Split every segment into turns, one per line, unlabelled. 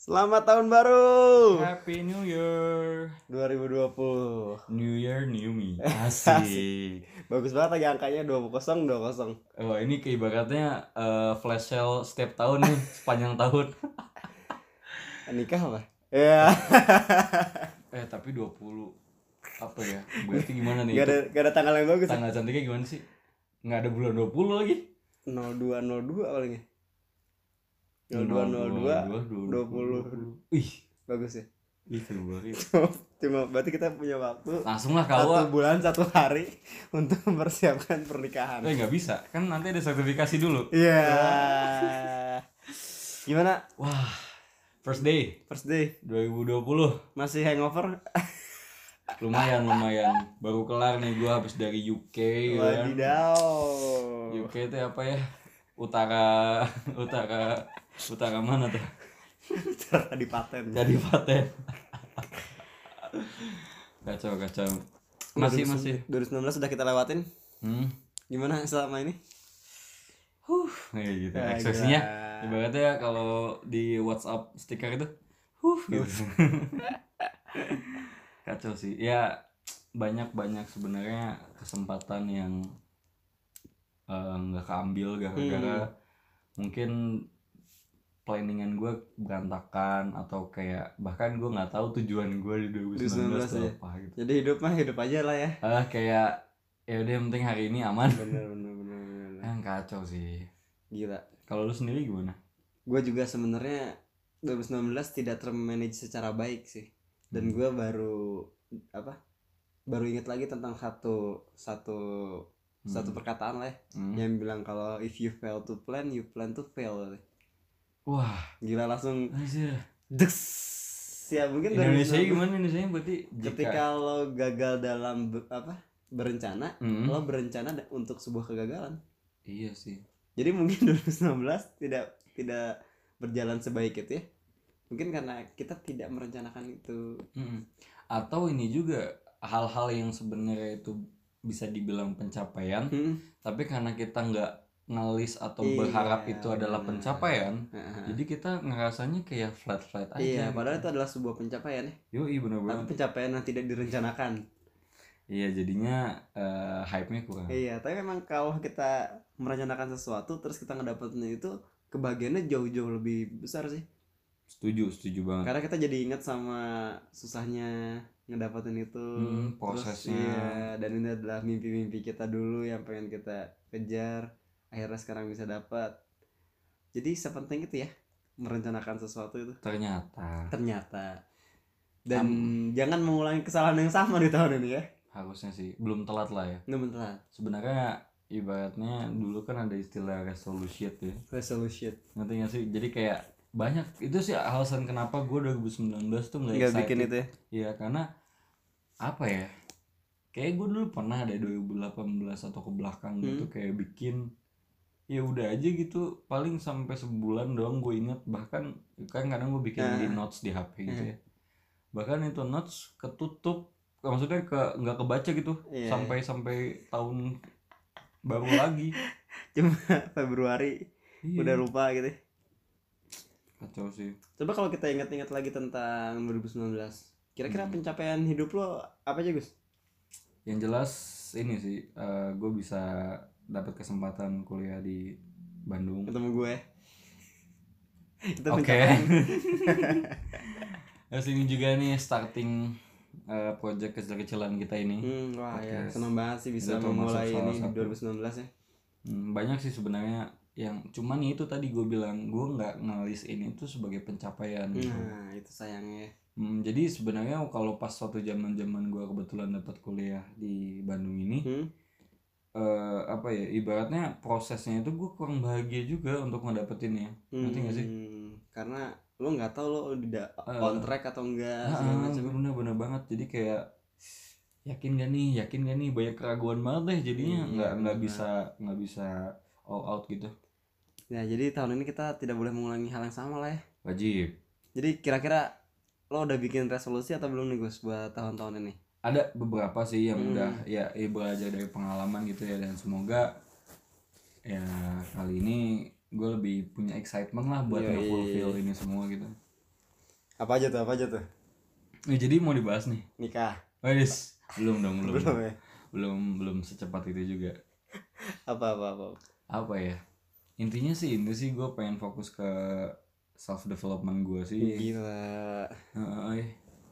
Selamat tahun baru
Happy New Year.
2020.
New Year New Me. Asik.
Bagus banget lagi angkanya Eh, 20 20.
Wah, ini keibaratnya eh, flash sale setiap tahun nih, sepanjang tahun.
Nikah apa? Ya,
Eh, tapi 20 apa ya? Berarti gimana nih?
gak ada gak ada tanggal yang
Itu
bagus. ya?
Tanggal cantiknya gimana sih? Nggak ada bulan 20 lagi.
0202 palingnya. 0202 20.
20. Ih,
bagus ya.
ih Februari.
Cuma berarti kita punya waktu
Langsung lah
satu
kau. ah.
bulan satu hari untuk mempersiapkan pernikahan.
Eh, nggak bisa. Kan nanti ada sertifikasi dulu.
Iya. Gimana
Wah. First day
first day
2020.
masih hangover?
lumayan lumayan baru kelar nih gua habis dari UK ya kan.
Wadidaw.
UK itu apa ya utara utara utara mana tuh
Ternyata di paten.
jadi paten kacau kacau masih masih
2019 sudah kita lewatin.
hmm
Gimana selama ini?
huh kayak gitu
Ya,
ekspresinya
gila.
ibaratnya kalau di WhatsApp stiker itu huh gitu
Iya.
kacau sih ya banyak banyak sebenarnya kesempatan yang eh, nggak keambil gara-gara
Hmm.
mungkin planningan gue berantakan atau kayak bahkan gue nggak tahu tujuan gue di
2019
2019 tuh
ya.
apa gitu
Jadi hidup mah hidup aja lah ya.
ah kayak ya udah yang penting hari ini aman
Bener bener bener. bener.
yang kacau sih
Gila.
kalau lu sendiri gimana
Gue juga sebenarnya 2019 tidak termanage secara baik sih. Dan gue baru apa? Baru inget lagi tentang satu satu
Hmm.
satu perkataan lah ya,
Hmm.
yang bilang kalau if you fail to plan you plan to fail
wah
gila langsung
anjir
des ya mungkin
Indonesia
2019
gimana Indonesia berarti jika
ketika lo gagal dalam be- apa berencana
Hmm.
lo berencana da- untuk sebuah kegagalan
iya sih
jadi mungkin 2019 tidak tidak berjalan sebaik itu ya mungkin karena kita tidak merencanakan itu
Mm-mm. atau ini juga hal-hal yang sebenarnya itu bisa dibilang pencapaian
Hmm.
tapi karena kita nggak ngelis atau
Iya,
berharap itu adalah
benar.
pencapaian
Heeh.
jadi kita ngerasanya kayak flat flat aja
iya padahal itu adalah sebuah pencapaian ya
yoi bener
tapi
banget
pencapaian yang tidak direncanakan
iya jadinya eh, hype nya kurang
iya tapi memang kalau kita merencanakan sesuatu terus kita ngedapetin itu kebahagiaannya jauh-jauh lebih besar sih
setuju setuju banget
karena kita jadi ingat sama susahnya ngedapetin itu
Hmm, prosesnya.
Terus, iya, dan ini adalah mimpi-mimpi kita dulu yang pengen kita kejar akhirnya sekarang bisa dapat jadi sepenting itu ya merencanakan sesuatu itu
ternyata
ternyata dan jangan mengulangi kesalahan yang sama di tahun ini ya
harusnya sih belum telat lah ya
nggak bentar
sebenarnya ibaratnya dulu kan ada istilah resolution ya
resolution
ngerti gak sih jadi kayak banyak itu sih alasan kenapa gue 2019 tuh nggak
nggak
excited.
bikin itu ya
Iya karena apa ya? Kayak gue dulu pernah ada 2018 atau ke belakang
Hmm.
gitu kayak bikin ya udah aja gitu paling sampai sebulan doang gue inget bahkan kan kadang gue bikin
Ah.
di notes di HP gitu
Hmm.
ya. Bahkan itu notes ketutup maksudnya ke nggak kebaca gitu
Iya,
sampai sampai tahun baru lagi.
cuma Februari
Iya,
udah lupa gitu
kacau sih.
coba kalau kita ingat-ingat lagi tentang 2019 kira-kira
Hmm.
pencapaian hidup lo apa aja Gus
Yang jelas ini sih gue bisa dapat kesempatan kuliah di Bandung.
ketemu gue itu
Oke.
pencapaian
Terus ini juga nih starting eh, project kecil-kecilan kita ini.
hmm, wah ya
Podcast.
senang banget sih bisa
Itu termasuk
memulai
salah
ini di
satu.
2019 ya
Hmm, banyak sih sebenarnya yang cuman itu tadi gue bilang gue nggak ngelis ini tuh sebagai pencapaian. gitu.
nah itu sayangnya
Hmm, jadi sebenarnya kalau pas suatu zaman zaman gue kebetulan dapat kuliah di Bandung ini,
hmm?
eh, apa ya ibaratnya prosesnya itu gue kurang bahagia juga untuk ngedapetinnya. Ngerti nggak sih?
Hmm, karena lo nggak tahu lo udah
Eh.
on track atau enggak segala
Ah,
macam
bener bener banget jadi kayak yakin gak nih yakin gak nih banyak keraguan banget deh jadinya
Iya,
nggak nggak
bener.
bisa nggak bisa all out gitu
nah jadi tahun ini kita tidak boleh mengulangi hal yang sama lah ya
wajib
jadi kira-kira lo udah bikin resolusi atau belum nih Gus buat tahun-tahun ini
ada beberapa sih yang
Hmm.
udah ya ya belajar dari pengalaman gitu ya dan semoga ya kali ini gue lebih punya excitement lah buat
Yoi.
nge-fulfill ini semua gitu
apa aja tuh apa aja tuh
Nah, jadi mau dibahas nih.
nikah
Wes, belum dong, belum.
belum ya
belum belum secepat itu juga.
apa apa apa
Apa ya? Intinya sih ini sih gue pengen fokus ke self development gue sih.
Iya. gila
Heeh.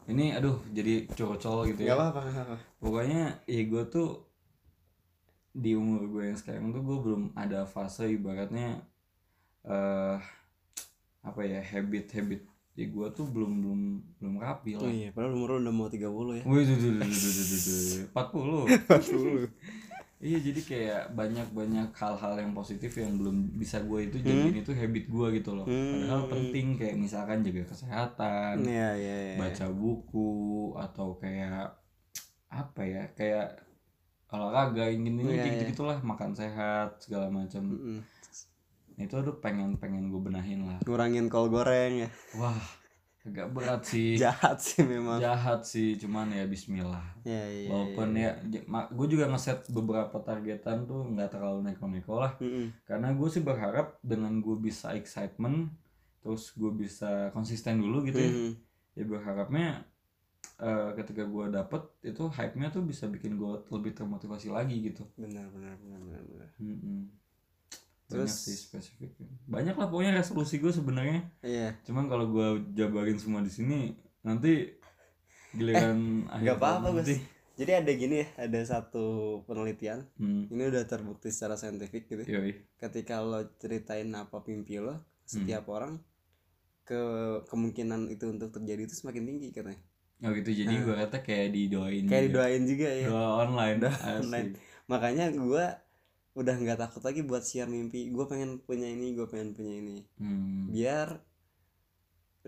ini aduh jadi cocol gitu
nggak
ya.
apa apa nggak apa
Pokoknya ya gue tuh di umur gue yang sekarang tuh gue belum ada fase ibaratnya eh apa ya habit-habit ya gue tuh belum belum belum rapi
oh
lah.
iya padahal umur lu udah mau 30 ya
Wih, duh, duh, duh, duh, duh, duh, duh, duh. 40
dulu
Iya jadi kayak banyak-banyak hal-hal yang positif yang belum bisa gue itu jadiin itu habit gue gitu loh. Padahal
Hmm.
penting kayak misalkan jaga kesehatan,
iya iya iya
baca buku atau kayak apa ya kayak olahraga ingin
Iya,
ini gitu
iya. Hmm.
gitulah makan sehat segala macam.
Mm-mm.
Nah, Itu aduh pengen pengen gue benahin lah.
ngurangin kol goreng ya
Wah agak berat sih.
jahat sih memang
Iya. Jahat sih cuman ya Bismillah.
iya iya
Walaupun ya, gue juga ngeset beberapa targetan tuh nggak terlalu neko-neko lah.
Mm-mm.
karena gue sih berharap dengan gue bisa excitement terus gue bisa konsisten dulu gitu ya
Mm-mm.
ya berharapnya eh, ketika gue dapet itu hype nya tuh bisa bikin gue lebih termotivasi lagi gitu
benar benar benar benar benar
Mm-mm. banyak
Terus-
sih spesifiknya banyak lah pokoknya resolusi gue sebenarnya
iya
cuman kalau gue jabarin semua di sini nanti giliran akhir
Eh, nggak
tahun
apa-apa, Gus.
nanti.
jadi ada gini ya ada satu penelitian
Hmm,
ini udah terbukti secara saintifik gitu ya.
yoi.
ketika lo ceritain apa mimpi
Hmm.
lo setiap orang ke kemungkinan itu untuk terjadi itu semakin tinggi katanya
Oh gitu
Nah.
jadi gue kata kayak didoain
kayak
gitu.
didoain juga ya
doa online
Doa
Asik.
online. makanya gua udah nggak takut lagi buat share mimpi gue pengen punya ini gue pengen punya ini
Hmm.
biar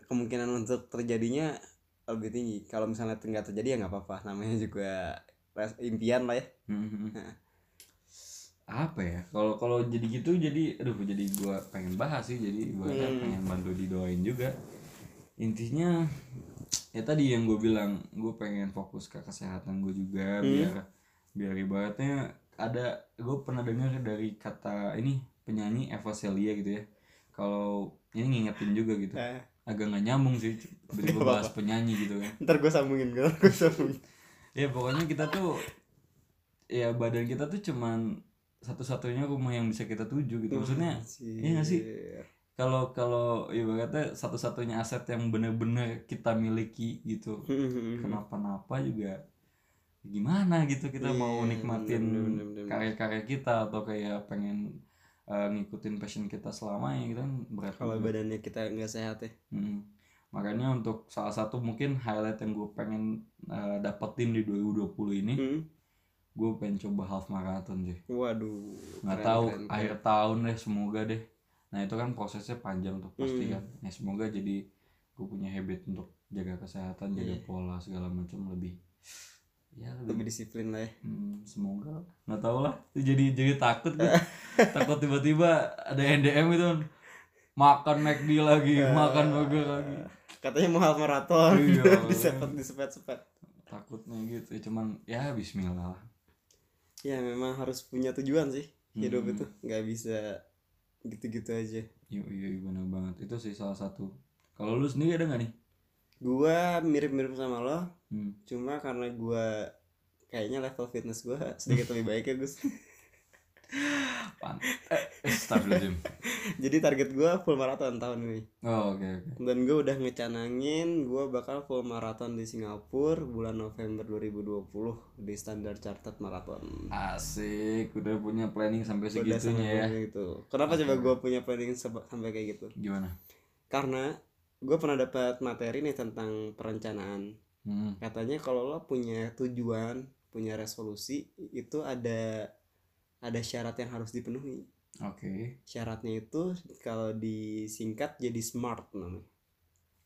kemungkinan untuk terjadinya lebih tinggi kalau misalnya nggak terjadi ya nggak apa-apa namanya juga res- impian lah ya
Mhm. apa ya kalau kalau jadi gitu jadi aduh jadi gua pengen bahas sih jadi gua
Hmm.
pengen bantu didoain juga intinya ya tadi yang gue bilang gue pengen fokus ke kesehatan gue juga
Hmm.
biar biar ibaratnya ada gue pernah dengar dari kata ini penyanyi Eva Celia gitu ya kalau ini ngingetin juga gitu
Eh,
agak nggak nyambung sih tiba
Nggak
bahas penyanyi gitu kan
ntar gue sambungin ntar gue sambungin
ya pokoknya kita tuh ya badan kita tuh cuman satu-satunya rumah yang bisa kita tuju
Hmm.
gitu maksudnya iya nggak sih?
Anjir.
kalau kalau ibaratnya satu-satunya aset yang bener-bener kita miliki gitu
Hmm.
kenapa-napa juga gimana gitu kita mau
Iya,
nikmatin
bener, bener, bener, bener.
karya-karya kita atau kayak pengen eh, ngikutin passion kita selamanya gitu kan berat
kalau
juga.
badannya kita nggak sehat ya
Mm. makanya untuk salah satu mungkin highlight yang gue pengen eh, dapetin di 2020 ini
Hmm.
gue pengen coba half marathon sih
Waduh.
nggak
keren,
tahu
keren, keren.
akhir tahun deh semoga deh nah itu kan prosesnya panjang tuh pasti
Hmm.
kan nah semoga jadi gue punya habit untuk jaga kesehatan jaga
Iya.
pola segala macam lebih ya
lebih
lebih,
disiplin lah ya.
Hmm, semoga nggak tahu lah Itu jadi jadi takut gue takut tiba-tiba ada NDM itu makan McD lagi makan burger lagi
Eh, Katanya mau half marathon.
Iya.
disepet disepet sepet.
takutnya gitu Ya, cuman ya Bismillah lah.
Ya memang harus punya tujuan sih hidup
Hmm.
itu nggak bisa gitu-gitu aja.
Iya iya benar banget. Itu sih salah satu. Kalau lu sendiri ada nggak nih?
Gua mirip-mirip sama lo,
Hmm.
cuma karena gua kayaknya level fitness gua sedikit lebih baik ya Gus.
Pan. Eh, Astagfirullahaladzim.
Jadi target gua full marathon tahun ini.
Oh, oke oke.
Dan gua udah ngecanangin gua bakal full marathon di Singapura bulan November 2020 di Standard Chartered Marathon.
Asik, udah punya planning sampai
Udah sama
segitunya ya.
kayak gitu. Kenapa
Oke.
coba gue punya planning seba- sampai kayak gitu?
Gimana?
Karena gue pernah dapat materi nih tentang perencanaan.
Hmm.
Katanya kalau lo punya tujuan, punya resolusi, itu ada ada syarat yang harus dipenuhi.
Oke.
Syaratnya itu kalau disingkat jadi SMART namanya.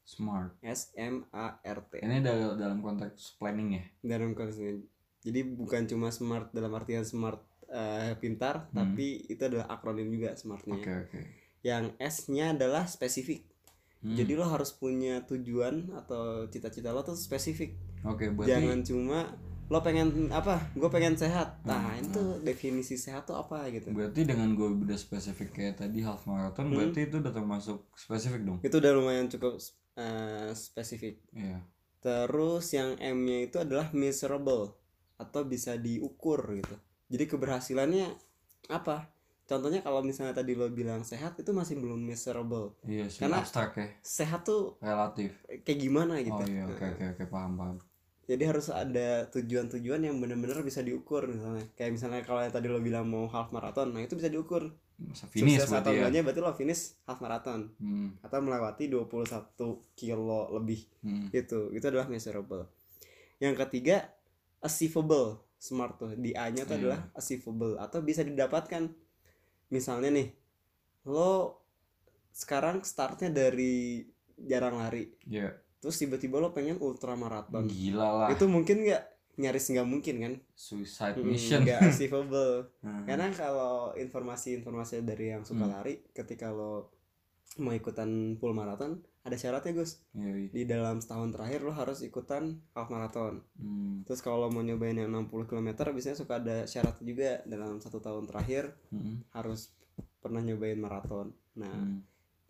Smart.
S M A R T.
Ini dal- dalam konteks planning ya.
Dalam konteks ini. Jadi bukan cuma smart dalam artian smart eh, pintar,
Hmm.
tapi itu adalah akronim juga smartnya.
Oke oke.
Yang S-nya adalah spesifik.
Hmm.
Jadi lo harus punya tujuan atau cita-cita lo tuh spesifik.
oke berarti
Jangan cuma lo pengen apa? Gue pengen sehat. Nah,
Hmm,
itu definisi sehat tuh apa gitu.
berarti dengan gue udah spesifik kayak tadi half marathon
Hmm.
berarti itu udah termasuk spesifik dong.
Itu udah lumayan cukup eh, spesifik
Iya.
terus yang M-nya itu adalah miserable atau bisa diukur gitu jadi keberhasilannya apa contohnya kalau misalnya tadi lo bilang sehat itu masih belum miserable
Iya sih
Karena-
abstrak ya,
sehat tuh
relatif.
kayak gimana gitu
Oh iya, oke
Nah,
oke oke paham paham.
jadi harus ada tujuan-tujuan yang benar-benar bisa diukur misalnya kayak misalnya kalau yang tadi lo bilang mau half marathon nah itu bisa diukur
Masa finish
sukses atau
berarti ya.
enggaknya berarti lo finish half marathon
Hmm,
atau melewati 21 kilo lebih
hmm.
itu itu adalah measurable yang ketiga achievable smart tuh di A nya tuh
Iya.
adalah achievable atau bisa didapatkan misalnya nih lo sekarang startnya dari jarang lari
Iya.
terus tiba-tiba lo pengen ultramarathon
Gila lah.
itu mungkin nggak nyaris nggak mungkin kan
Suicide
Mm,
mission.
nggak achievable
Hmm.
karena kalau informasi-informasi dari yang suka
Hmm.
lari ketika lo mau ikutan full marathon ada syaratnya Gus
Iya, iya.
di dalam setahun terakhir lo harus ikutan half marathon
Hmm,
terus kalau lo mau nyobain yang 60 km biasanya suka ada syarat juga dalam satu tahun terakhir
hmm,
harus pernah nyobain maraton nah
hmm.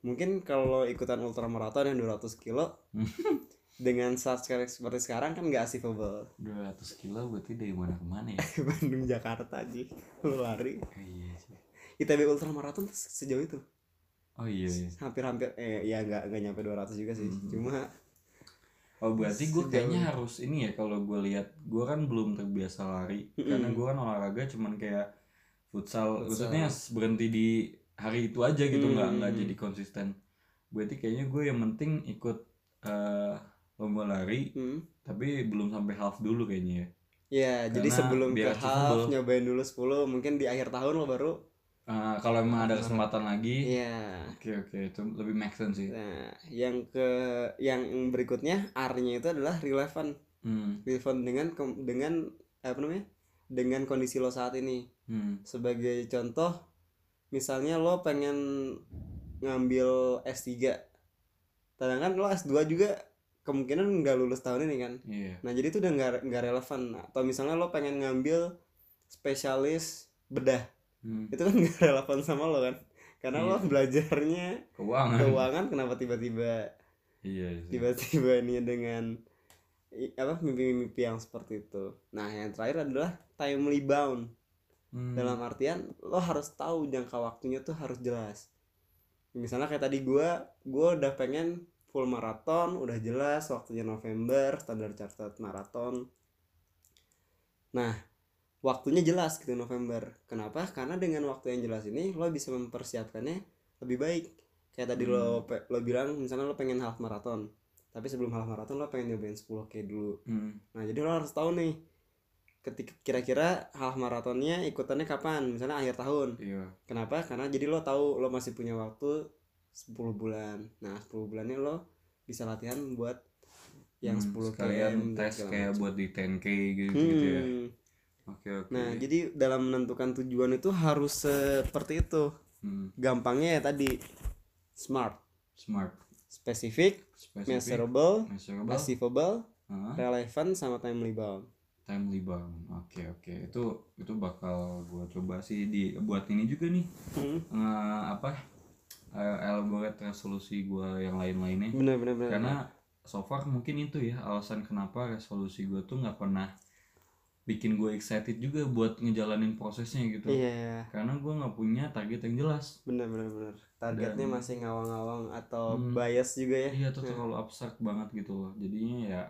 mungkin kalau lo ikutan ultramaraton yang 200 kilo
Hmm.
dengan start sekarang- seperti sekarang kan nggak achievable
200 kilo berarti dari mana ke mana ya?
Bandung Jakarta sih lo lari
Eh, iya sih.
ITB ultramaraton tuh sejauh itu
Oh iya iya.
hampir-hampir eh ya nggak nggak nyampe 200 juga sih
Mhm.
cuma
Oh berarti gue
Sejauh ini.
kayaknya harus ini ya kalau gue lihat gue kan belum terbiasa lari
Mm-mm.
karena gue kan olahraga cuman kayak futsal,
Futsal.
maksudnya berhenti di hari itu aja gitu nggak nggak
Mm.
jadi konsisten. Berarti kayaknya gue yang penting ikut eh, lomba lari
hmm.
tapi belum sampai half dulu kayaknya ya.
ya jadi
Karena
sebelum ke
biar
half
achievable.
nyobain dulu 10 mungkin di akhir tahun lo baru
Eh, kalau emang ada kesempatan lagi,
Iya.
oke oke itu lebih make sense sih.
Nah, yang ke yang berikutnya R-nya itu adalah relevan.
Hmm,
Relevan dengan kom- dengan apa namanya? Dengan kondisi lo saat ini.
hmm,
Sebagai contoh, misalnya lo pengen ngambil S3. Sedangkan lo S2 juga kemungkinan nggak lulus tahun ini kan.
iya.
Nah, jadi itu udah nggak nggak relevan. Nah, Atau misalnya lo pengen ngambil spesialis bedah.
Hmm,
Itu kan nggak relevan sama lo kan. Karena lo
Iya.
belajarnya
Keuangan.
keuangan kenapa tiba-tiba
Iya. sih.
tiba-tiba ini dengan i- apa mimpi-mimpi yang seperti itu. Nah, yang terakhir adalah timely bound.
Hmm,
Dalam artian lo harus tahu jangka waktunya tuh harus jelas. Misalnya kayak tadi gua, gua udah pengen full maraton, udah jelas waktunya November, standar chartered maraton. Nah, waktunya jelas gitu November. Kenapa? Karena dengan waktu yang jelas ini lo bisa mempersiapkannya lebih baik. Kayak tadi lo pe- lo bilang misalnya lo pengen half maraton, tapi sebelum half maraton lo pengen nyobain 10k dulu.
hmm.
Nah, jadi lo harus tahu nih ketika kira-kira half maratonnya ikutannya kapan? Misalnya akhir tahun.
Iya.
Kenapa? Karena jadi lo tahu lo masih punya waktu 10 bulan. Nah, 10 bulannya lo bisa latihan buat yang
Hmm,
10
sekalian
km,
tes
gitu, segala
kayak
macam.
buat di 10k gitu, gitu ya.
Hmm.
Oke oke.
Nah, jadi dalam menentukan tujuan itu harus seperti itu.
Hmm,
Gampangnya ya tadi smart,
smart,
specific,
spesifik,
measurable,
measurable,
achievable,
ah,
relevant sama timely bound.
timely bound. Oke oke. Itu itu bakal gua coba sih di buat ini juga nih.
Hmm.
Eh, apa? Eh, elaborate resolusi gua yang lain-lainnya.
Benar benar benar.
Karena so far mungkin itu ya alasan kenapa resolusi gua tuh nggak pernah bikin gue excited juga buat ngejalanin prosesnya gitu.
iya
Karena gua nggak punya target yang jelas.
benar benar benar. Targetnya
Dan-
masih ngawang-ngawang atau
Hmm.
bias juga ya.
Iya tuh terlalu abstrak banget gitu loh. Jadinya ya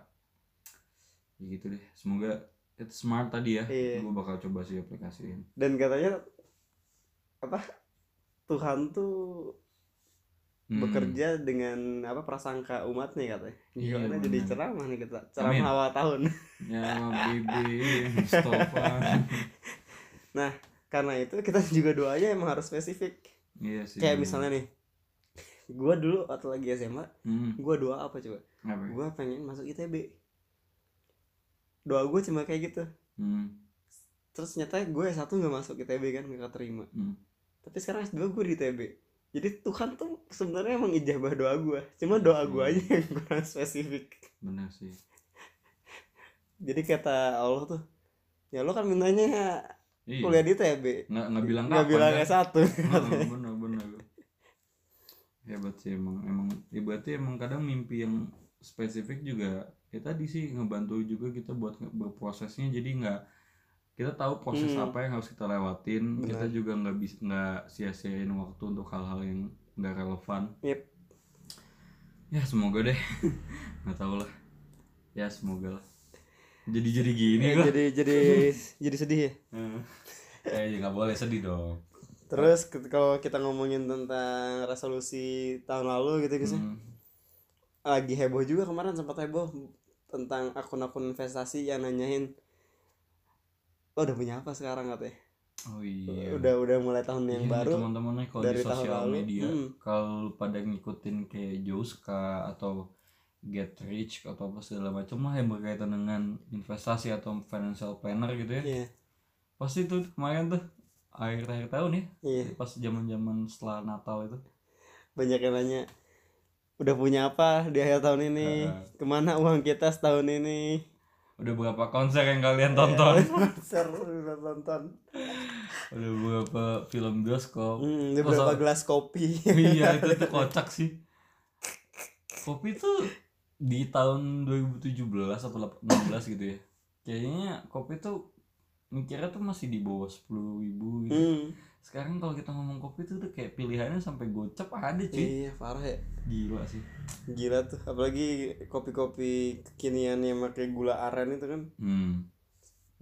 ya gitu deh. Semoga it's smart tadi ya.
Iya.
Gue bakal coba sih aplikasiin.
dan katanya apa Tuhan tuh
Hmm.
bekerja dengan apa prasangka umatnya katanya
Iya,
gimana
benar.
jadi ceramah nih kita ceramah
Amin.
awal tahun
Ya Bibi Mustafa.
karena itu kita juga doanya emang harus spesifik
Iya sih.
kayak misalnya nih gua dulu waktu lagi SMA
Hmm.
gua doa apa coba
Apa? ya?
gua pengen masuk ITB doa gua cuma kayak gitu
Hmm.
terus ternyata gue S1 nggak masuk ITB kan nggak terima
Hmm.
tapi sekarang S2 gue di ITB jadi Tuhan tuh sebenarnya emang ijabah doa gua cuma
Hmm.
doa gua aja yang kurang spesifik
Bener sih.
jadi kata Allah tuh ya lo kan mintanya
Iya.
kuliah di TB
Nggak nggak bilang kan?
nggak
Hmm, kapan,
bilang
kan?
S1
Heeh, Bener bener. hebat sih emang emang ya berarti emang kadang mimpi yang spesifik juga ya tadi sih ngebantu juga kita buat nge- berprosesnya jadi nggak kita tahu proses
Hmm.
apa yang harus kita lewatin
Benar.
kita juga nggak bisa nggak sia-siain waktu untuk hal-hal yang nggak relevan
Yep.
ya semoga deh nggak tahu lah ya semoga lah jadi jadi gini
Eh,
gua
jadi jadi jadi sedih ya
eh ya nggak boleh sedih dong
terus
Nah.
ke- kalau kita ngomongin tentang resolusi tahun lalu gitu guys ya.
Hmm.
lagi heboh juga kemarin sempat heboh tentang akun-akun investasi yang nanyain lo udah punya apa sekarang katanya
oh iya
udah udah mulai tahun yang
Iya nih,
baru
teman-teman nih kalau di
dari tahun
sosial
lalu,
media
mm.
kalau lu pada ngikutin kayak Jouska atau Get Rich atau apa segala macam lah yang berkaitan dengan investasi atau financial planner gitu ya
iya
pasti tuh kemarin tuh akhir akhir tahun ya
iya
pas zaman zaman setelah Natal itu
banyak yang nanya udah punya apa di akhir tahun ini
Heeh.
kemana uang kita setahun ini
udah berapa konser yang
Iya.
kalian tonton
seru udah tonton
udah berapa film bioskop
hmm, udah
Oh,
berapa
so-
gelas kopi
iya itu tuh kocak sih kopi tuh di tahun 2017 atau 16 gitu ya kayaknya kopi tuh mikirnya tuh masih di bawah 10.000 ribu gitu
Hmm,
sekarang kalau kita ngomong kopi tuh udah kayak pilihannya sampai gocap ada cuy
iya parah ya
gila sih
gila tuh apalagi kopi-kopi kekinian yang pakai gula aren itu kan
hmm.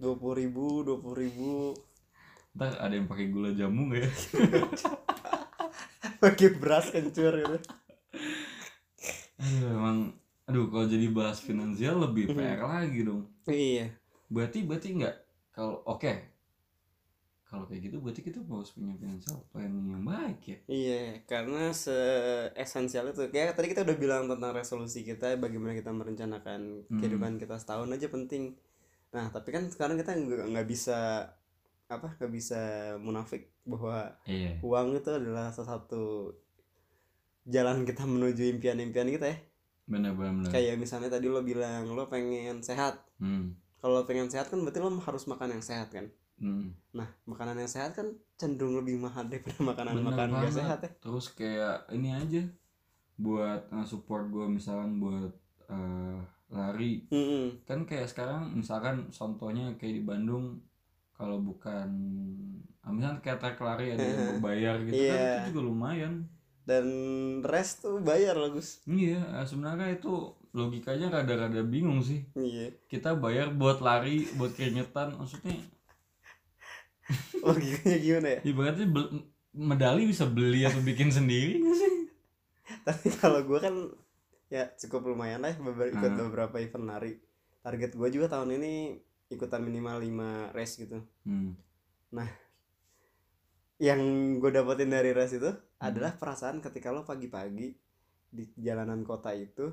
dua puluh ribu dua puluh ribu
ntar ada yang pakai gula jamu gak ya
pakai beras kencur gitu
aduh emang aduh kalau jadi bahas finansial lebih
Mhm.
PR lagi dong
iya
berarti berarti nggak kalau oke kalau kayak gitu berarti kita harus punya financial planning yang baik ya
Iya, karena se esensial itu kayak tadi kita udah bilang tentang resolusi kita, bagaimana kita merencanakan
Hmm.
kehidupan kita setahun aja penting. Nah, tapi kan sekarang kita nggak nggak bisa apa nggak bisa munafik bahwa
iya
uang itu adalah salah satu jalan kita menuju impian-impian kita ya.
bener bener bener
Kayak misalnya tadi lo bilang lo pengen sehat.
hmm.
Kalau lo pengen sehat kan berarti lo harus makan yang sehat kan.
Hmm.
Nah, makanan yang sehat kan cenderung lebih mahal daripada
Bener
makanan-makanan nggak
banget.
sehat ya.
terus kayak ini aja buat uh, support gue misalkan buat uh, lari
Mm-mm.
kan kayak sekarang misalkan contohnya kayak di Bandung kalau bukan ah, misalkan kayak trek lari ada yang berbayar gitu kan
Iya.
itu juga lumayan
dan rest tuh bayar lah Gus
iya eh, sebenarnya itu logikanya rada-rada bingung sih
iya
kita bayar buat lari buat keringetan maksudnya
logikanya gimana ya
ibaratnya bel- medali bisa beli atau bikin sendiri nggak sih
tapi kalau gua kan ya cukup lumayan lah beber- ikut
Hmm.
beberapa event lari target gua juga tahun ini ikutan minimal 5 race gitu
hmm.
yang gue dapetin dari race
Hmm.
itu adalah perasaan ketika lo pagi-pagi di jalanan kota itu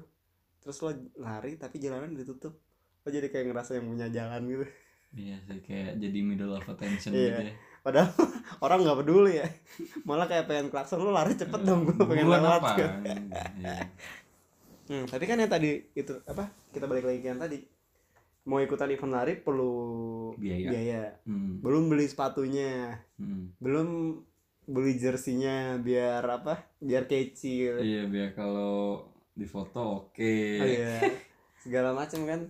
terus lo lari tapi jalanan ditutup lo jadi kayak ngerasa yang punya jalan gitu
iya sih kayak jadi middle of attention
Iya.
gitu ya
padahal orang nggak peduli ya malah kayak pengen klakson lo lari cepet dong gue pengen
Buruan
lewat
apaan?
gitu.
Iya.
Hmm, tapi kan yang tadi itu apa? Kita balik lagi ke yang tadi. Mau ikutan event lari perlu
biaya
biaya.
Hmm.
Belum beli sepatunya,
Hmm.
belum beli jersinya biar apa? Biar kecil.
iya biar kalau di foto oke
Oh, iya. Segala macam kan.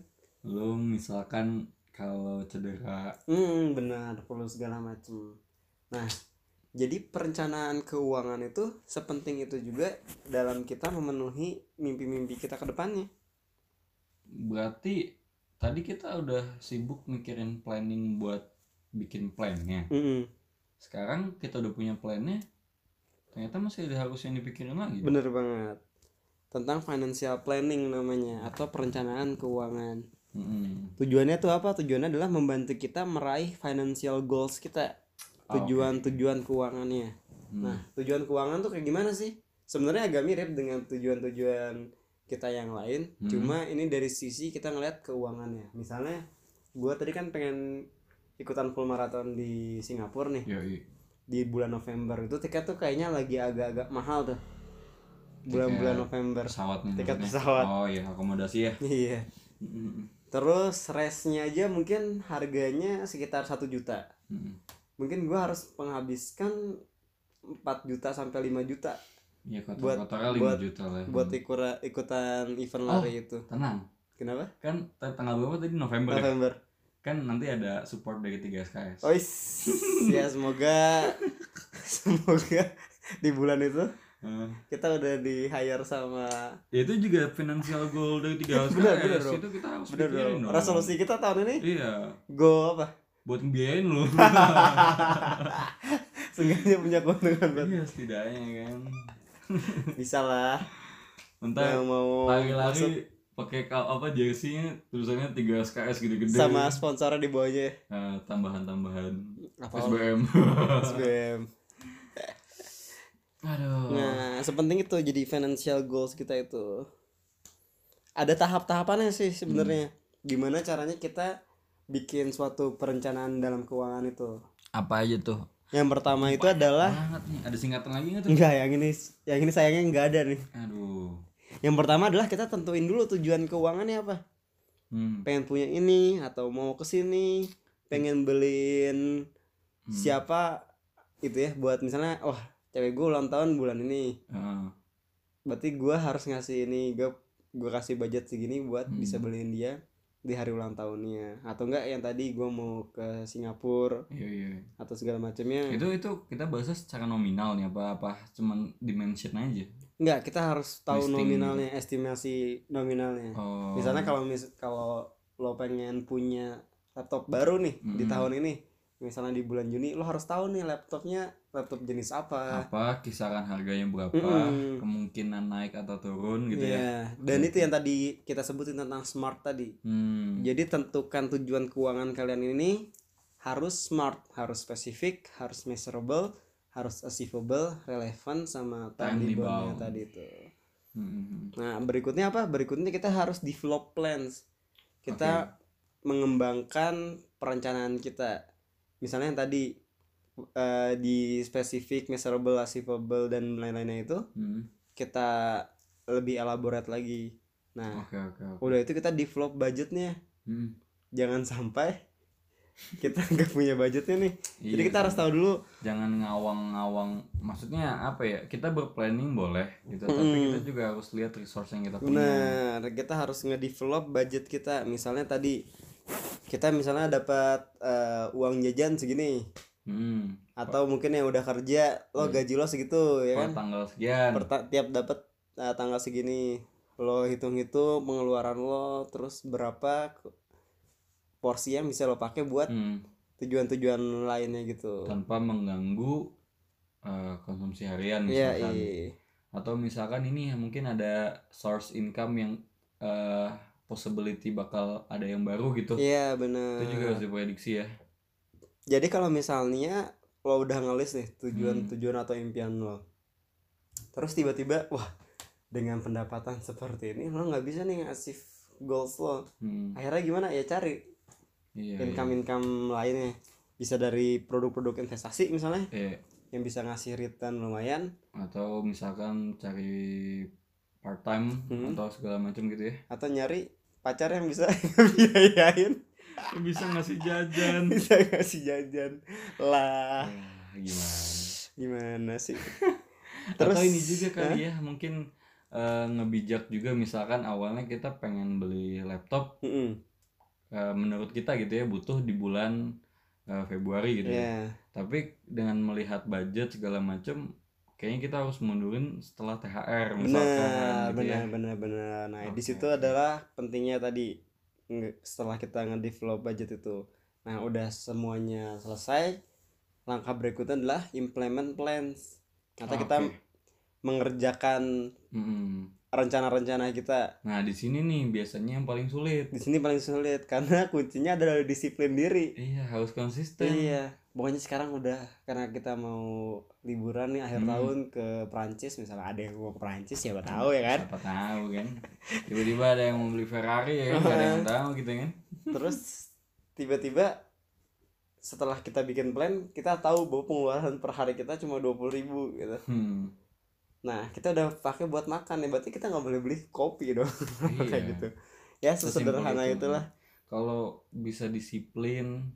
lu misalkan kalau cedera
Hmm, benar, perlu segala macam. Nah, jadi perencanaan keuangan itu sepenting itu juga dalam kita memenuhi mimpi-mimpi kita ke depannya.
berarti tadi kita udah sibuk mikirin planning buat bikin plannya
Mm-mm,
sekarang kita udah punya plannya ternyata masih ada harus yang dipikirin lagi
Bener banget. Tentang financial planning namanya atau perencanaan keuangan.
Hmm, Mm-mm.
Tujuannya tuh apa? Tujuannya adalah membantu kita meraih financial goals kita.
Ah, oke.
Tujuan-tujuan keuangannya.
Hmm.
Nah, tujuan keuangan tuh kayak gimana sih? Sebenarnya agak mirip dengan tujuan-tujuan kita yang lain,
Hmm.
cuma ini dari sisi kita ngeliat keuangannya. Misalnya, gua tadi kan pengen ikutan full marathon di Singapura nih
Yoi.
di bulan November itu tiket tuh kayaknya lagi agak-agak mahal tuh bulan-bulan
Tiket
November
pesawat nih
Tiket
maksudnya.
pesawat.
oh iya akomodasi ya hmm,
iya
Mm-mm.
terus race-nya aja mungkin harganya sekitar 1 juta
Mm-mm.
mungkin gua harus menghabiskan 4 juta sampai 5 juta
ya
Buat-
kotor-kotornya 5
buat-
juta lah Hmm.
buat ikura- ikutan event
Oh.
lari itu.
tenang
Kenapa?
kan t- tanggal berapa tadi November ya?
November. Oh, iya.
kan nanti ada support dari 3 SKS
Ois. ya semoga semoga di bulan itu
Eh,
kita udah di hire sama
ya itu juga financial goal dari 3 SKS
Bener, bener, bro.
itu kita harus
bener
pikirin
dong.
dong.
Resolusi kita tahun ini
iya
go apa?
buat ngebiayain lu
Seenggaknya punya keuntungan buat
iya setidaknya kan
bisa lah
entah
yang mau masuk
Nah, lari-lari pakai kal- apa jersinya tulisannya 3 SKS gede-gede
sama sponsornya di bawahnya
Eh, tambahan-tambahan
apa
SBM
SBM.
aduh
Nah, sepenting itu jadi financial goals kita itu. Ada tahap-tahapannya sih sebenarnya.
Hmm.
Gimana caranya kita bikin suatu perencanaan dalam keuangan itu.
apa aja tuh
Yang pertama itu adalah
banget nih ada singkatan lagi nggak tuh
enggak yang ini yang ini sayangnya enggak ada nih.
aduh
Yang pertama adalah kita tentuin dulu tujuan keuangannya apa.
hmm.
Pengen punya ini atau mau ke sini, pengen beliin
Hmm.
siapa itu ya buat misalnya wah cewek gue ulang tahun bulan ini
Ah,
berarti gua harus ngasih ini gue gue kasih budget segini buat
Hmm.
bisa beliin dia di hari ulang tahunnya atau enggak yang tadi gua mau ke Singapura
iya iya
atau segala macamnya
itu itu kita bahasnya secara nominal nih apa apa cuman dimension aja
enggak kita harus tahu
Listing
nominalnya estimasi nominalnya
oh
misalnya kalau mis kalau lo pengen punya laptop baru nih di
Mm-mm.
tahun ini misalnya di bulan Juni lo harus tahu nih laptopnya laptop jenis apa
apa kisaran harganya berapa
Mm-mm.
kemungkinan naik atau turun gitu ya
Iya. dan itu yang tadi kita sebutin tentang smart tadi
hmm.
Jadi tentukan tujuan keuangan kalian ini harus smart, harus spesifik, harus measurable, harus achievable, relevan sama
Timely
timely bound-nya
bound.
tadi itu.
Hmm.
Nah, berikutnya apa? Berikutnya kita harus develop plans. Kita mengembangkan perencanaan kita. Misalnya yang tadi eh, di spesifik, measurable, achievable dan lain-lainnya itu
Hmm.
kita lebih elaborate lagi. Nah,
oke oke oke
udah itu kita develop budgetnya
Hmm.
jangan sampai kita nggak punya budgetnya nih jadi
Iya,
kita harus tahu dulu
jangan ngawang-ngawang maksudnya apa ya kita berplanning boleh gitu tapi
Mm.
kita juga harus lihat resource yang kita punya
benar kita harus nge-develop budget kita misalnya tadi kita misalnya dapat eh, uang jajan segini
Hmm.
atau mungkin yang udah kerja lo
Iya.
gaji lo segitu ya
per
Iya kan
tanggal sekian
Per ta- tiap dapat eh, tanggal segini lo hitung hitung pengeluaran lo terus berapa ke- porsi yang bisa lo pakai buat
Hmm. Kan,
tujuan-tujuan lainnya gitu
tanpa mengganggu eh, konsumsi harian
Iya,
misalkan
iya.
atau misalkan ini mungkin ada source income yang eh, possibility bakal ada yang baru gitu
iya benar
itu juga harus diprediksi ya
jadi kalau misalnya lo udah ngelis nih tujuan
Hmm.
tujuan atau impian lo terus tiba-tiba wah dengan pendapatan seperti ini lo nggak bisa nih ngasih goals lo
Hmm,
akhirnya gimana ya cari
iya, iya.
income income lainnya bisa dari produk-produk investasi misalnya
Eh,
yang bisa ngasih return lumayan
atau misalkan cari part time
Hmm.
atau segala macam gitu ya
atau nyari pacar yang bisa biayain
bisa ngasih jajan
bisa ngasih jajan lah
Ya, gimana
gimana sih
Atau ini juga kali ya mungkin eh, ngebijak juga misalkan awalnya kita pengen beli laptop
Mm-mm.
eh, menurut kita gitu ya butuh di bulan eh, Februari gitu ya.
Iya.
Tapi dengan melihat budget segala macem kayaknya kita harus mundurin setelah THR misalkan
benar
gitu
benar
ya.
benar benar nah di
Oke,
situ
oke.
adalah pentingnya tadi nge- setelah kita nge-develop budget itu nah udah semuanya selesai langkah berikutnya adalah implement plans kata
Ah,
kita
oke.
mengerjakan
Mm-mm.
rencana-rencana kita
Nah, di sini nih biasanya yang paling sulit.
di sini paling sulit karena kuncinya adalah disiplin diri
Iya, harus konsisten.
iya pokoknya sekarang udah karena kita mau liburan nih akhir
Hmm.
tahun ke Prancis misalnya ada yang mau ke Prancis siapa tahu ya kan
Siapa tahu kan. Tiba-tiba ada yang mau beli Ferrari ya, kan? nggak ada yang tahu gitu kan.
terus tiba-tiba setelah kita bikin plan kita tahu bahwa pengeluaran per hari kita cuma dua puluh ribu gitu
Hmm.
nah kita udah pakai buat makan ya berarti kita nggak boleh beli kopi dong kayak
Iya.
gitu ya
Sesimpel
sesederhana
itu.
itulah
kalau bisa disiplin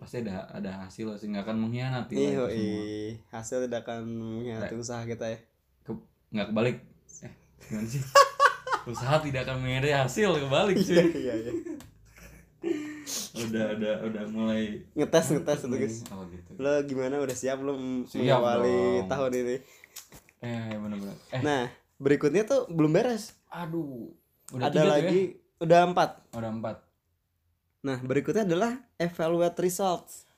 pasti ada ada hasil sih nggak akan mengkhianati lah
iya
itu semua.
hasil tidak akan mengkhianati usaha kita ya
nggak kebalik eh gimana sih usaha tidak akan mengenai hasil kebalik
iya
cuy
iya iya
udah udah udah mulai
ngetes ngetes itu guys
oh gitu
lo gimana udah siap belum
Siap
mengawali
dong.
tahun ini
eh bener-bener eh
nah berikutnya tuh belum beres
aduh udah
ada
tiga tuh
lagi udah empat
ya? udah empat
nah berikutnya adalah evaluate results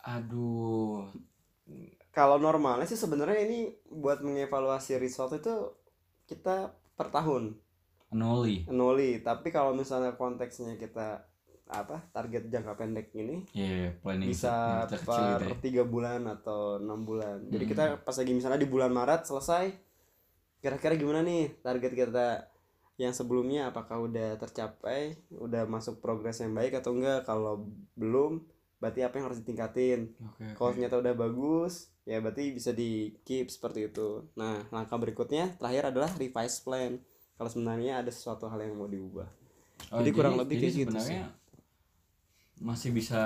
aduh
kalau normalnya sih sebenarnya ini buat mengevaluasi result itu kita per tahun
anoli
noli tapi kalau misalnya konteksnya kita apa target jangka pendek ini
ya planning
bisa
kecil gitu ya.
per tiga bulan atau enam bulan jadi
Hmm.
kita pas lagi misalnya di bulan Maret selesai kira-kira gimana nih target kita yang sebelumnya apakah udah tercapai udah masuk progres yang baik atau enggak kalau belum berarti apa yang harus ditingkatin
Oke, oke.
kalau ternyata udah bagus ya berarti bisa di keep seperti itu nah langkah berikutnya terakhir adalah revise plan kalau sebenarnya ada sesuatu hal yang mau diubah
Oh,
jadi kurang lebih
jadi
kayak gitu
sebenarnya masih bisa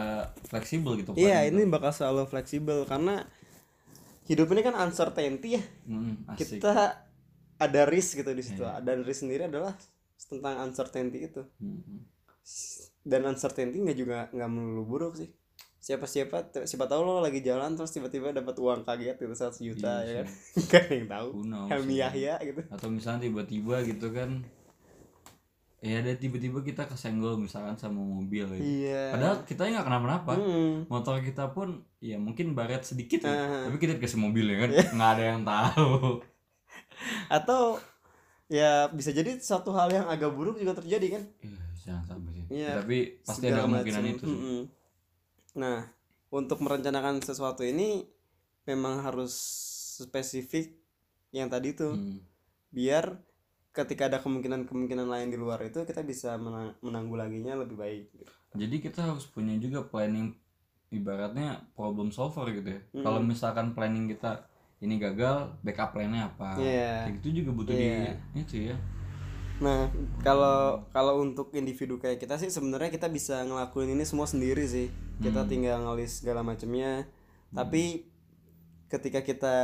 fleksibel gitu
iya ini
planning
bakal selalu fleksibel karena hidup ini kan uncertainty ya
Hmm, asik.
kita ada risk gitu di situ
Iya.
dan risk sendiri adalah tentang uncertainty itu
Hmm.
dan uncertainty nggak juga nggak melulu buruk sih siapa siapa siapa tahu lo lagi jalan terus tiba-tiba dapat uang kaget gitu 100 juta
Iya
ya kan
sih,
nggak ada yang tahu
who knows,
Helmi
ya.
Yahya gitu
Atau misalnya tiba-tiba gitu kan ya ada tiba-tiba kita kesenggol misalkan sama mobil gitu.
Iya.
Padahal Iya. kita nggak kenapa-napa.
Mm.
Motor kita pun ya mungkin baret sedikit ya.
Ah.
Tapi kita dikasih mobil ya kan
Iya.
nggak ada yang tahu.
Atau ya bisa jadi satu hal yang agak buruk juga terjadi kan.
Ih, Jangan sampai sih.
Iya,
Tapi pasti ada
Segala
kemungkinan
macam.
itu sih.
Mm-mm. Nah, untuk merencanakan sesuatu ini memang harus spesifik yang tadi tuh
Hmm.
biar ketika ada kemungkinan-kemungkinan lain di luar itu kita bisa mena- menanggulanginya lebih baik.
Jadi kita harus punya juga planning ibaratnya problem solver gitu ya.
Mm-mm.
Kalau misalkan planning kita ini gagal, backup plan-nya apa?
Iya.
Kayak gitu juga butuh
Iya.
di itu ya.
Nah, kalau kalau untuk individu kayak kita sih sebenarnya kita bisa ngelakuin ini semua sendiri sih. Kita
Hmm.
tinggal ngelis segala macamnya. Tapi ketika kita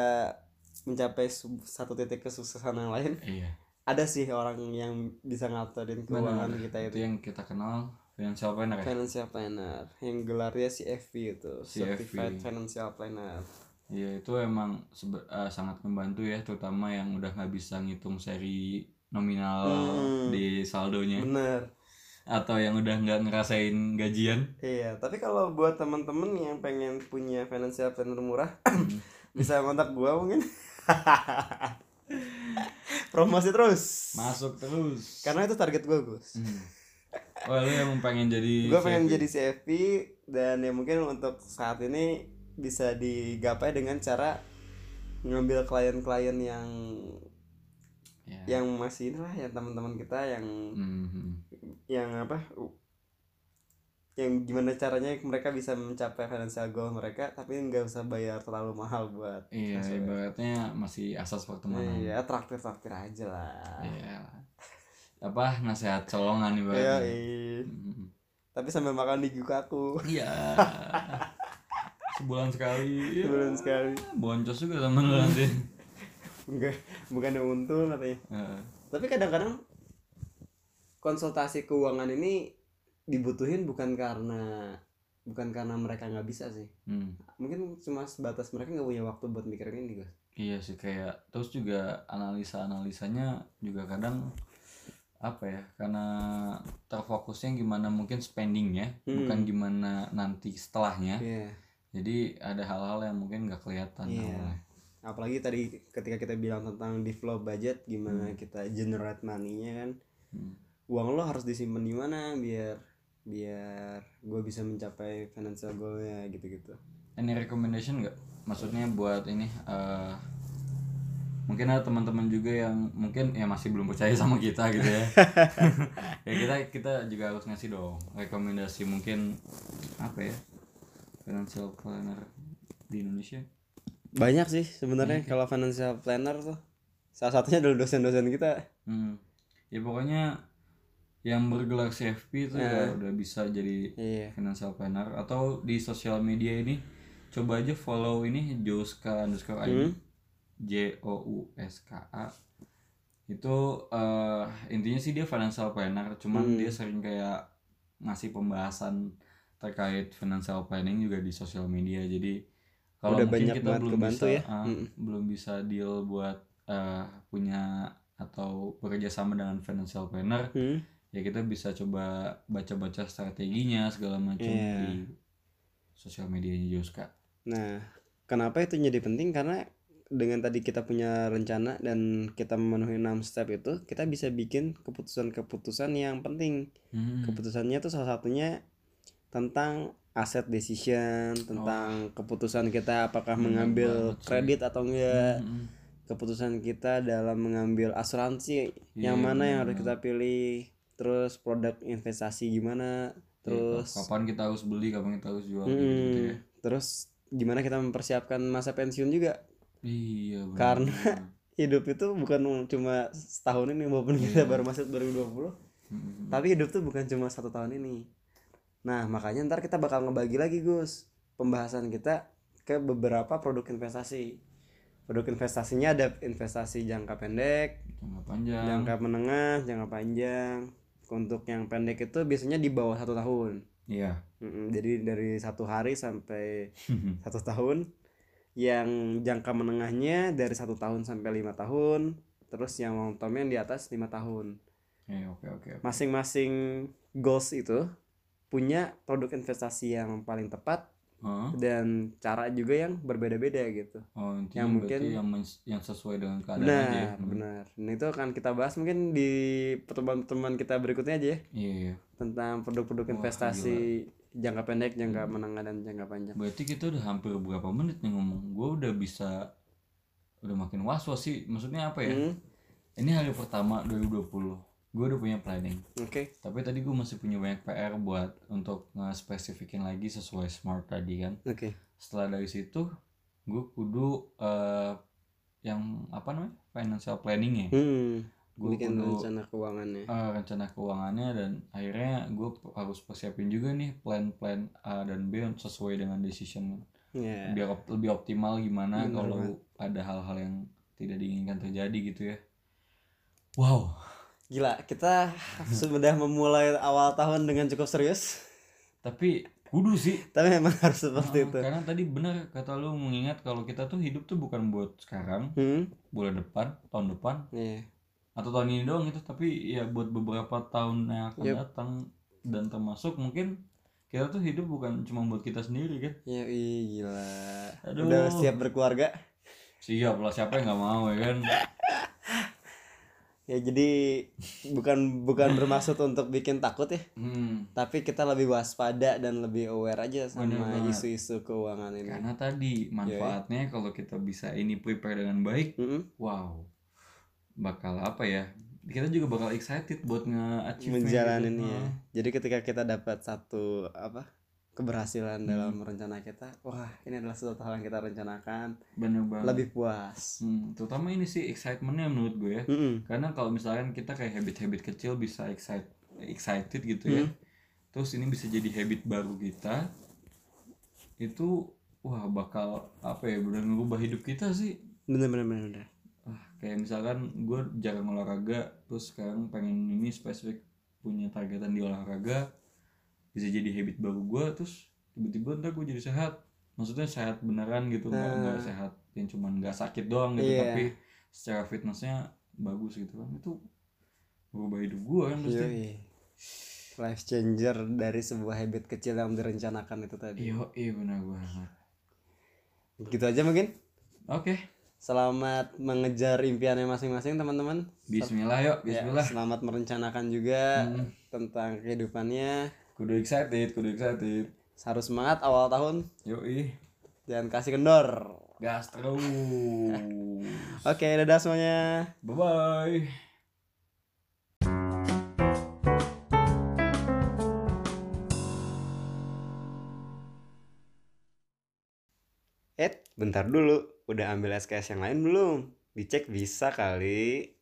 mencapai su- satu titik kesuksesan yang lain,
Iya.
ada sih orang yang bisa ngaturin
Benar.
keuangan kita
Itu
itu.
yang kita kenal financial planner ya.
Financial planner yang gelarnya CFP itu,
CFP.
Certified Financial Planner.
Iya, itu emang sebe- eh, sangat membantu ya, terutama yang udah nggak bisa ngitung seri nominal
Hmm.
di saldonya
Bener.
atau yang udah nggak ngerasain gajian.
Iya, tapi kalau buat temen-temen yang pengen punya financial planner murah,
Hmm.
bisa kontak gua mungkin. Promosi terus.
Masuk terus.
Karena itu target gua, Gus.
Hmm. Iya, Oh, lu yang pengen jadi
Gua pengen
CFP?
jadi CFP dan ya mungkin untuk saat ini bisa digapai dengan cara ngambil klien-klien yang
Ya.
yang masih inilah yang teman-teman kita yang
Mhm.
yang apa yang gimana caranya mereka bisa mencapai financial goal mereka tapi nggak usah bayar terlalu mahal buat
Iya,
Masuk ya.
ibaratnya masih asas pertemanan.
Iya, traktir traktir aja lah.
Iya. Apa nasihat colongan
Iya.
ibaratnya.
iya.
Mhm.
Tapi sambil makan di aku
Iya. Sebulan sekali.
Sebulan sekali.
Boncos juga temen lu nanti.
Enggak, bukan yang untung katanya.
Heeh.
Tapi kadang-kadang konsultasi keuangan ini dibutuhin bukan karena bukan karena mereka nggak bisa sih.
Hmm.
Mungkin cuma sebatas mereka nggak punya waktu buat mikirin ini, Gus.
Iya sih kayak terus juga analisa-analisanya juga kadang apa ya karena terfokusnya gimana mungkin spendingnya
Hmm.
bukan gimana nanti setelahnya
Iya.
jadi ada hal-hal yang mungkin nggak kelihatan
Iya.
awalnya.
Apalagi tadi ketika kita bilang tentang di flow budget gimana kita generate money-nya kan.
Hmm.
uang lo harus disimpan di mana biar biar gue bisa mencapai financial goalnya gitu-gitu
Any recommendation nggak? Maksudnya buat ini eh, mungkin ada teman-teman juga yang mungkin ya masih belum percaya sama kita gitu ya. ya kita kita juga harus ngasih dong rekomendasi mungkin apa ya financial planner di Indonesia.
banyak ya? sih sebenarnya kalau financial planner tuh salah satunya adalah dosen-dosen kita
Hmm. Ya pokoknya yang bergelar CFP itu ya udah bisa jadi
iya
financial planner atau di sosial media ini
Hmm.
coba aja follow ini Joska underscore ID J O U S K A itu eh, intinya sih dia financial planner cuman
Hmm.
dia sering kayak ngasih pembahasan terkait financial planning juga di sosial media jadi kalau
Udah
mungkin
banyak
kita
banget
belum
kebantu
bisa
ya.
ah,
Mm-mm.
belum bisa deal buat eh, punya atau bekerja sama dengan financial planner
Hmm.
ya kita bisa coba baca-baca strateginya segala macam
Iya.
di sosial medianya Joska
Nah, kenapa itu jadi penting? Karena dengan tadi kita punya rencana dan kita memenuhi 6 step itu, kita bisa bikin keputusan-keputusan yang penting.
Hmm.
Keputusannya itu salah satunya tentang asset decision, tentang keputusan kita apakah
Bener
mengambil
Oh. Hmm, banget sih. Hmm.
kredit atau enggak,
Mm-mm.
keputusan kita dalam mengambil asuransi
Iya,
yang mana yang harus
bener-bener.
kita pilih, terus produk investasi gimana,
Iya,
terus Hmm.
kapan kita harus beli kapan kita harus jual
Mm-mm.
gitu ya
terus gimana kita mempersiapkan masa pensiun juga
iya benar.
Karena- hidup itu bukan cuma setahun ini maupun kita
Iya.
baru masuk 2020
Mm-mm.
tapi hidup tuh bukan cuma satu tahun ini nah makanya ntar kita bakal ngebagi lagi Gus pembahasan kita ke beberapa produk investasi produk investasinya ada investasi jangka pendek
jangka panjang
jangka menengah jangka panjang untuk yang pendek itu biasanya di bawah satu tahun
iya
Mm-mm, jadi dari satu hari sampai satu tahun yang jangka menengahnya dari satu tahun sampai lima tahun terus yang long term yang di atas lima tahun
Eh, oke oke oke.
masing-masing goals itu punya produk investasi yang paling tepat
Hah?
dan cara juga yang berbeda-beda gitu
oh intinya
Yang
yang
mungkin-
yang mens- yang sesuai dengan keadaan aja ya.
benar
Hmm.
benar Dan itu akan kita bahas mungkin di pertemuan-pertemuan kita berikutnya aja ya
iya iya
tentang
Wah, Hmm.
produk-produk investasi jangka pendek jangka menengah dan jangka panjang
berarti kita udah hampir berapa menit nih ngomong gue udah bisa udah makin was was sih maksudnya apa ya
Hmm,
ini hari pertama 2020 gue udah punya planning
oke
tapi tadi gue masih punya banyak PR buat untuk ngespesifikin lagi sesuai smart tadi kan
oke
setelah dari situ gue kudu eh, yang apa namanya financial planningnya
hmm,
gue
bikin
kudu
rencana keuangannya
eh, rencana keuangannya dan akhirnya gue harus persiapin juga nih plan-plan A dan B yang sesuai dengan decision
ya
biar op- lebih optimal gimana
Bener
kalau ada hal-hal yang tidak diinginkan terjadi gitu ya wow
Gila, kita sudah memulai awal tahun dengan cukup serius,
tapi kudu sih
tapi memang harus seperti
Heeh,
itu.
karena tadi benar kata lu mengingat kalau kita tuh hidup tuh bukan buat sekarang
Hmm,
bulan depan tahun depan
iya.
atau tahun ini doang itu tapi ya buat beberapa tahun yang akan
Yep.
datang dan termasuk mungkin kita tuh hidup bukan cuma buat kita sendiri kan
Ya, ih, gila.
Aduh.
Udah siap berkeluarga.
siap lah siapa yang nggak mau ya kan
Ya jadi bukan bukan bermaksud untuk bikin takut ya,
hmm,
tapi kita lebih waspada dan lebih aware aja
Bener
sama
banget. Kan.
isu-isu keuangan ini.
karena
Iya,
tadi manfaatnya kalau kita bisa ini prepare dengan baik
Mm-mm.
wow bakal apa ya kita juga bakal excited buat gitu. Nah, nge-achieve
menjalanin ya. Jadi ketika kita dapat satu apa
Hmm.
keberhasilan dalam rencana kita, wah ini adalah sesuatu hal yang kita rencanakan,
bener banget
lebih puas.
Hmm, terutama ini sih excitementnya menurut gue ya
Mm-mm.
karena kalau misalkan kita kayak habit-habit kecil bisa excite, excited gitu ya terus ini bisa jadi habit baru kita itu wah bakal apa ya benar ngubah hidup kita sih
bener bener bener bener
ah, kayak misalkan gue jarang olahraga terus sekarang pengen ini spesifik punya targetan di olahraga bisa jadi habit baru gue terus tiba-tiba ntar gue jadi sehat maksudnya sehat beneran gitu nggak nggak sehat yang cuman nggak sakit doang gitu
Iya.
tapi secara fitnessnya bagus gitu kan itu berubah hidup gue kan pasti
Yoi. life changer dari sebuah habit kecil yang direncanakan itu tadi
iya iya benar banget
gitu aja mungkin
oke
selamat mengejar impiannya masing-masing teman-teman
Bismillah yuk
Ya,
Bismillah
selamat merencanakan juga
Hmm.
tentang kehidupannya
kudu excited kudu excited
harus semangat awal tahun
yoi
jangan kasih kendor
gas terus
oke dadah semuanya
bye bye
Eh, bentar dulu. Udah ambil SKS yang lain belum? Dicek bisa kali.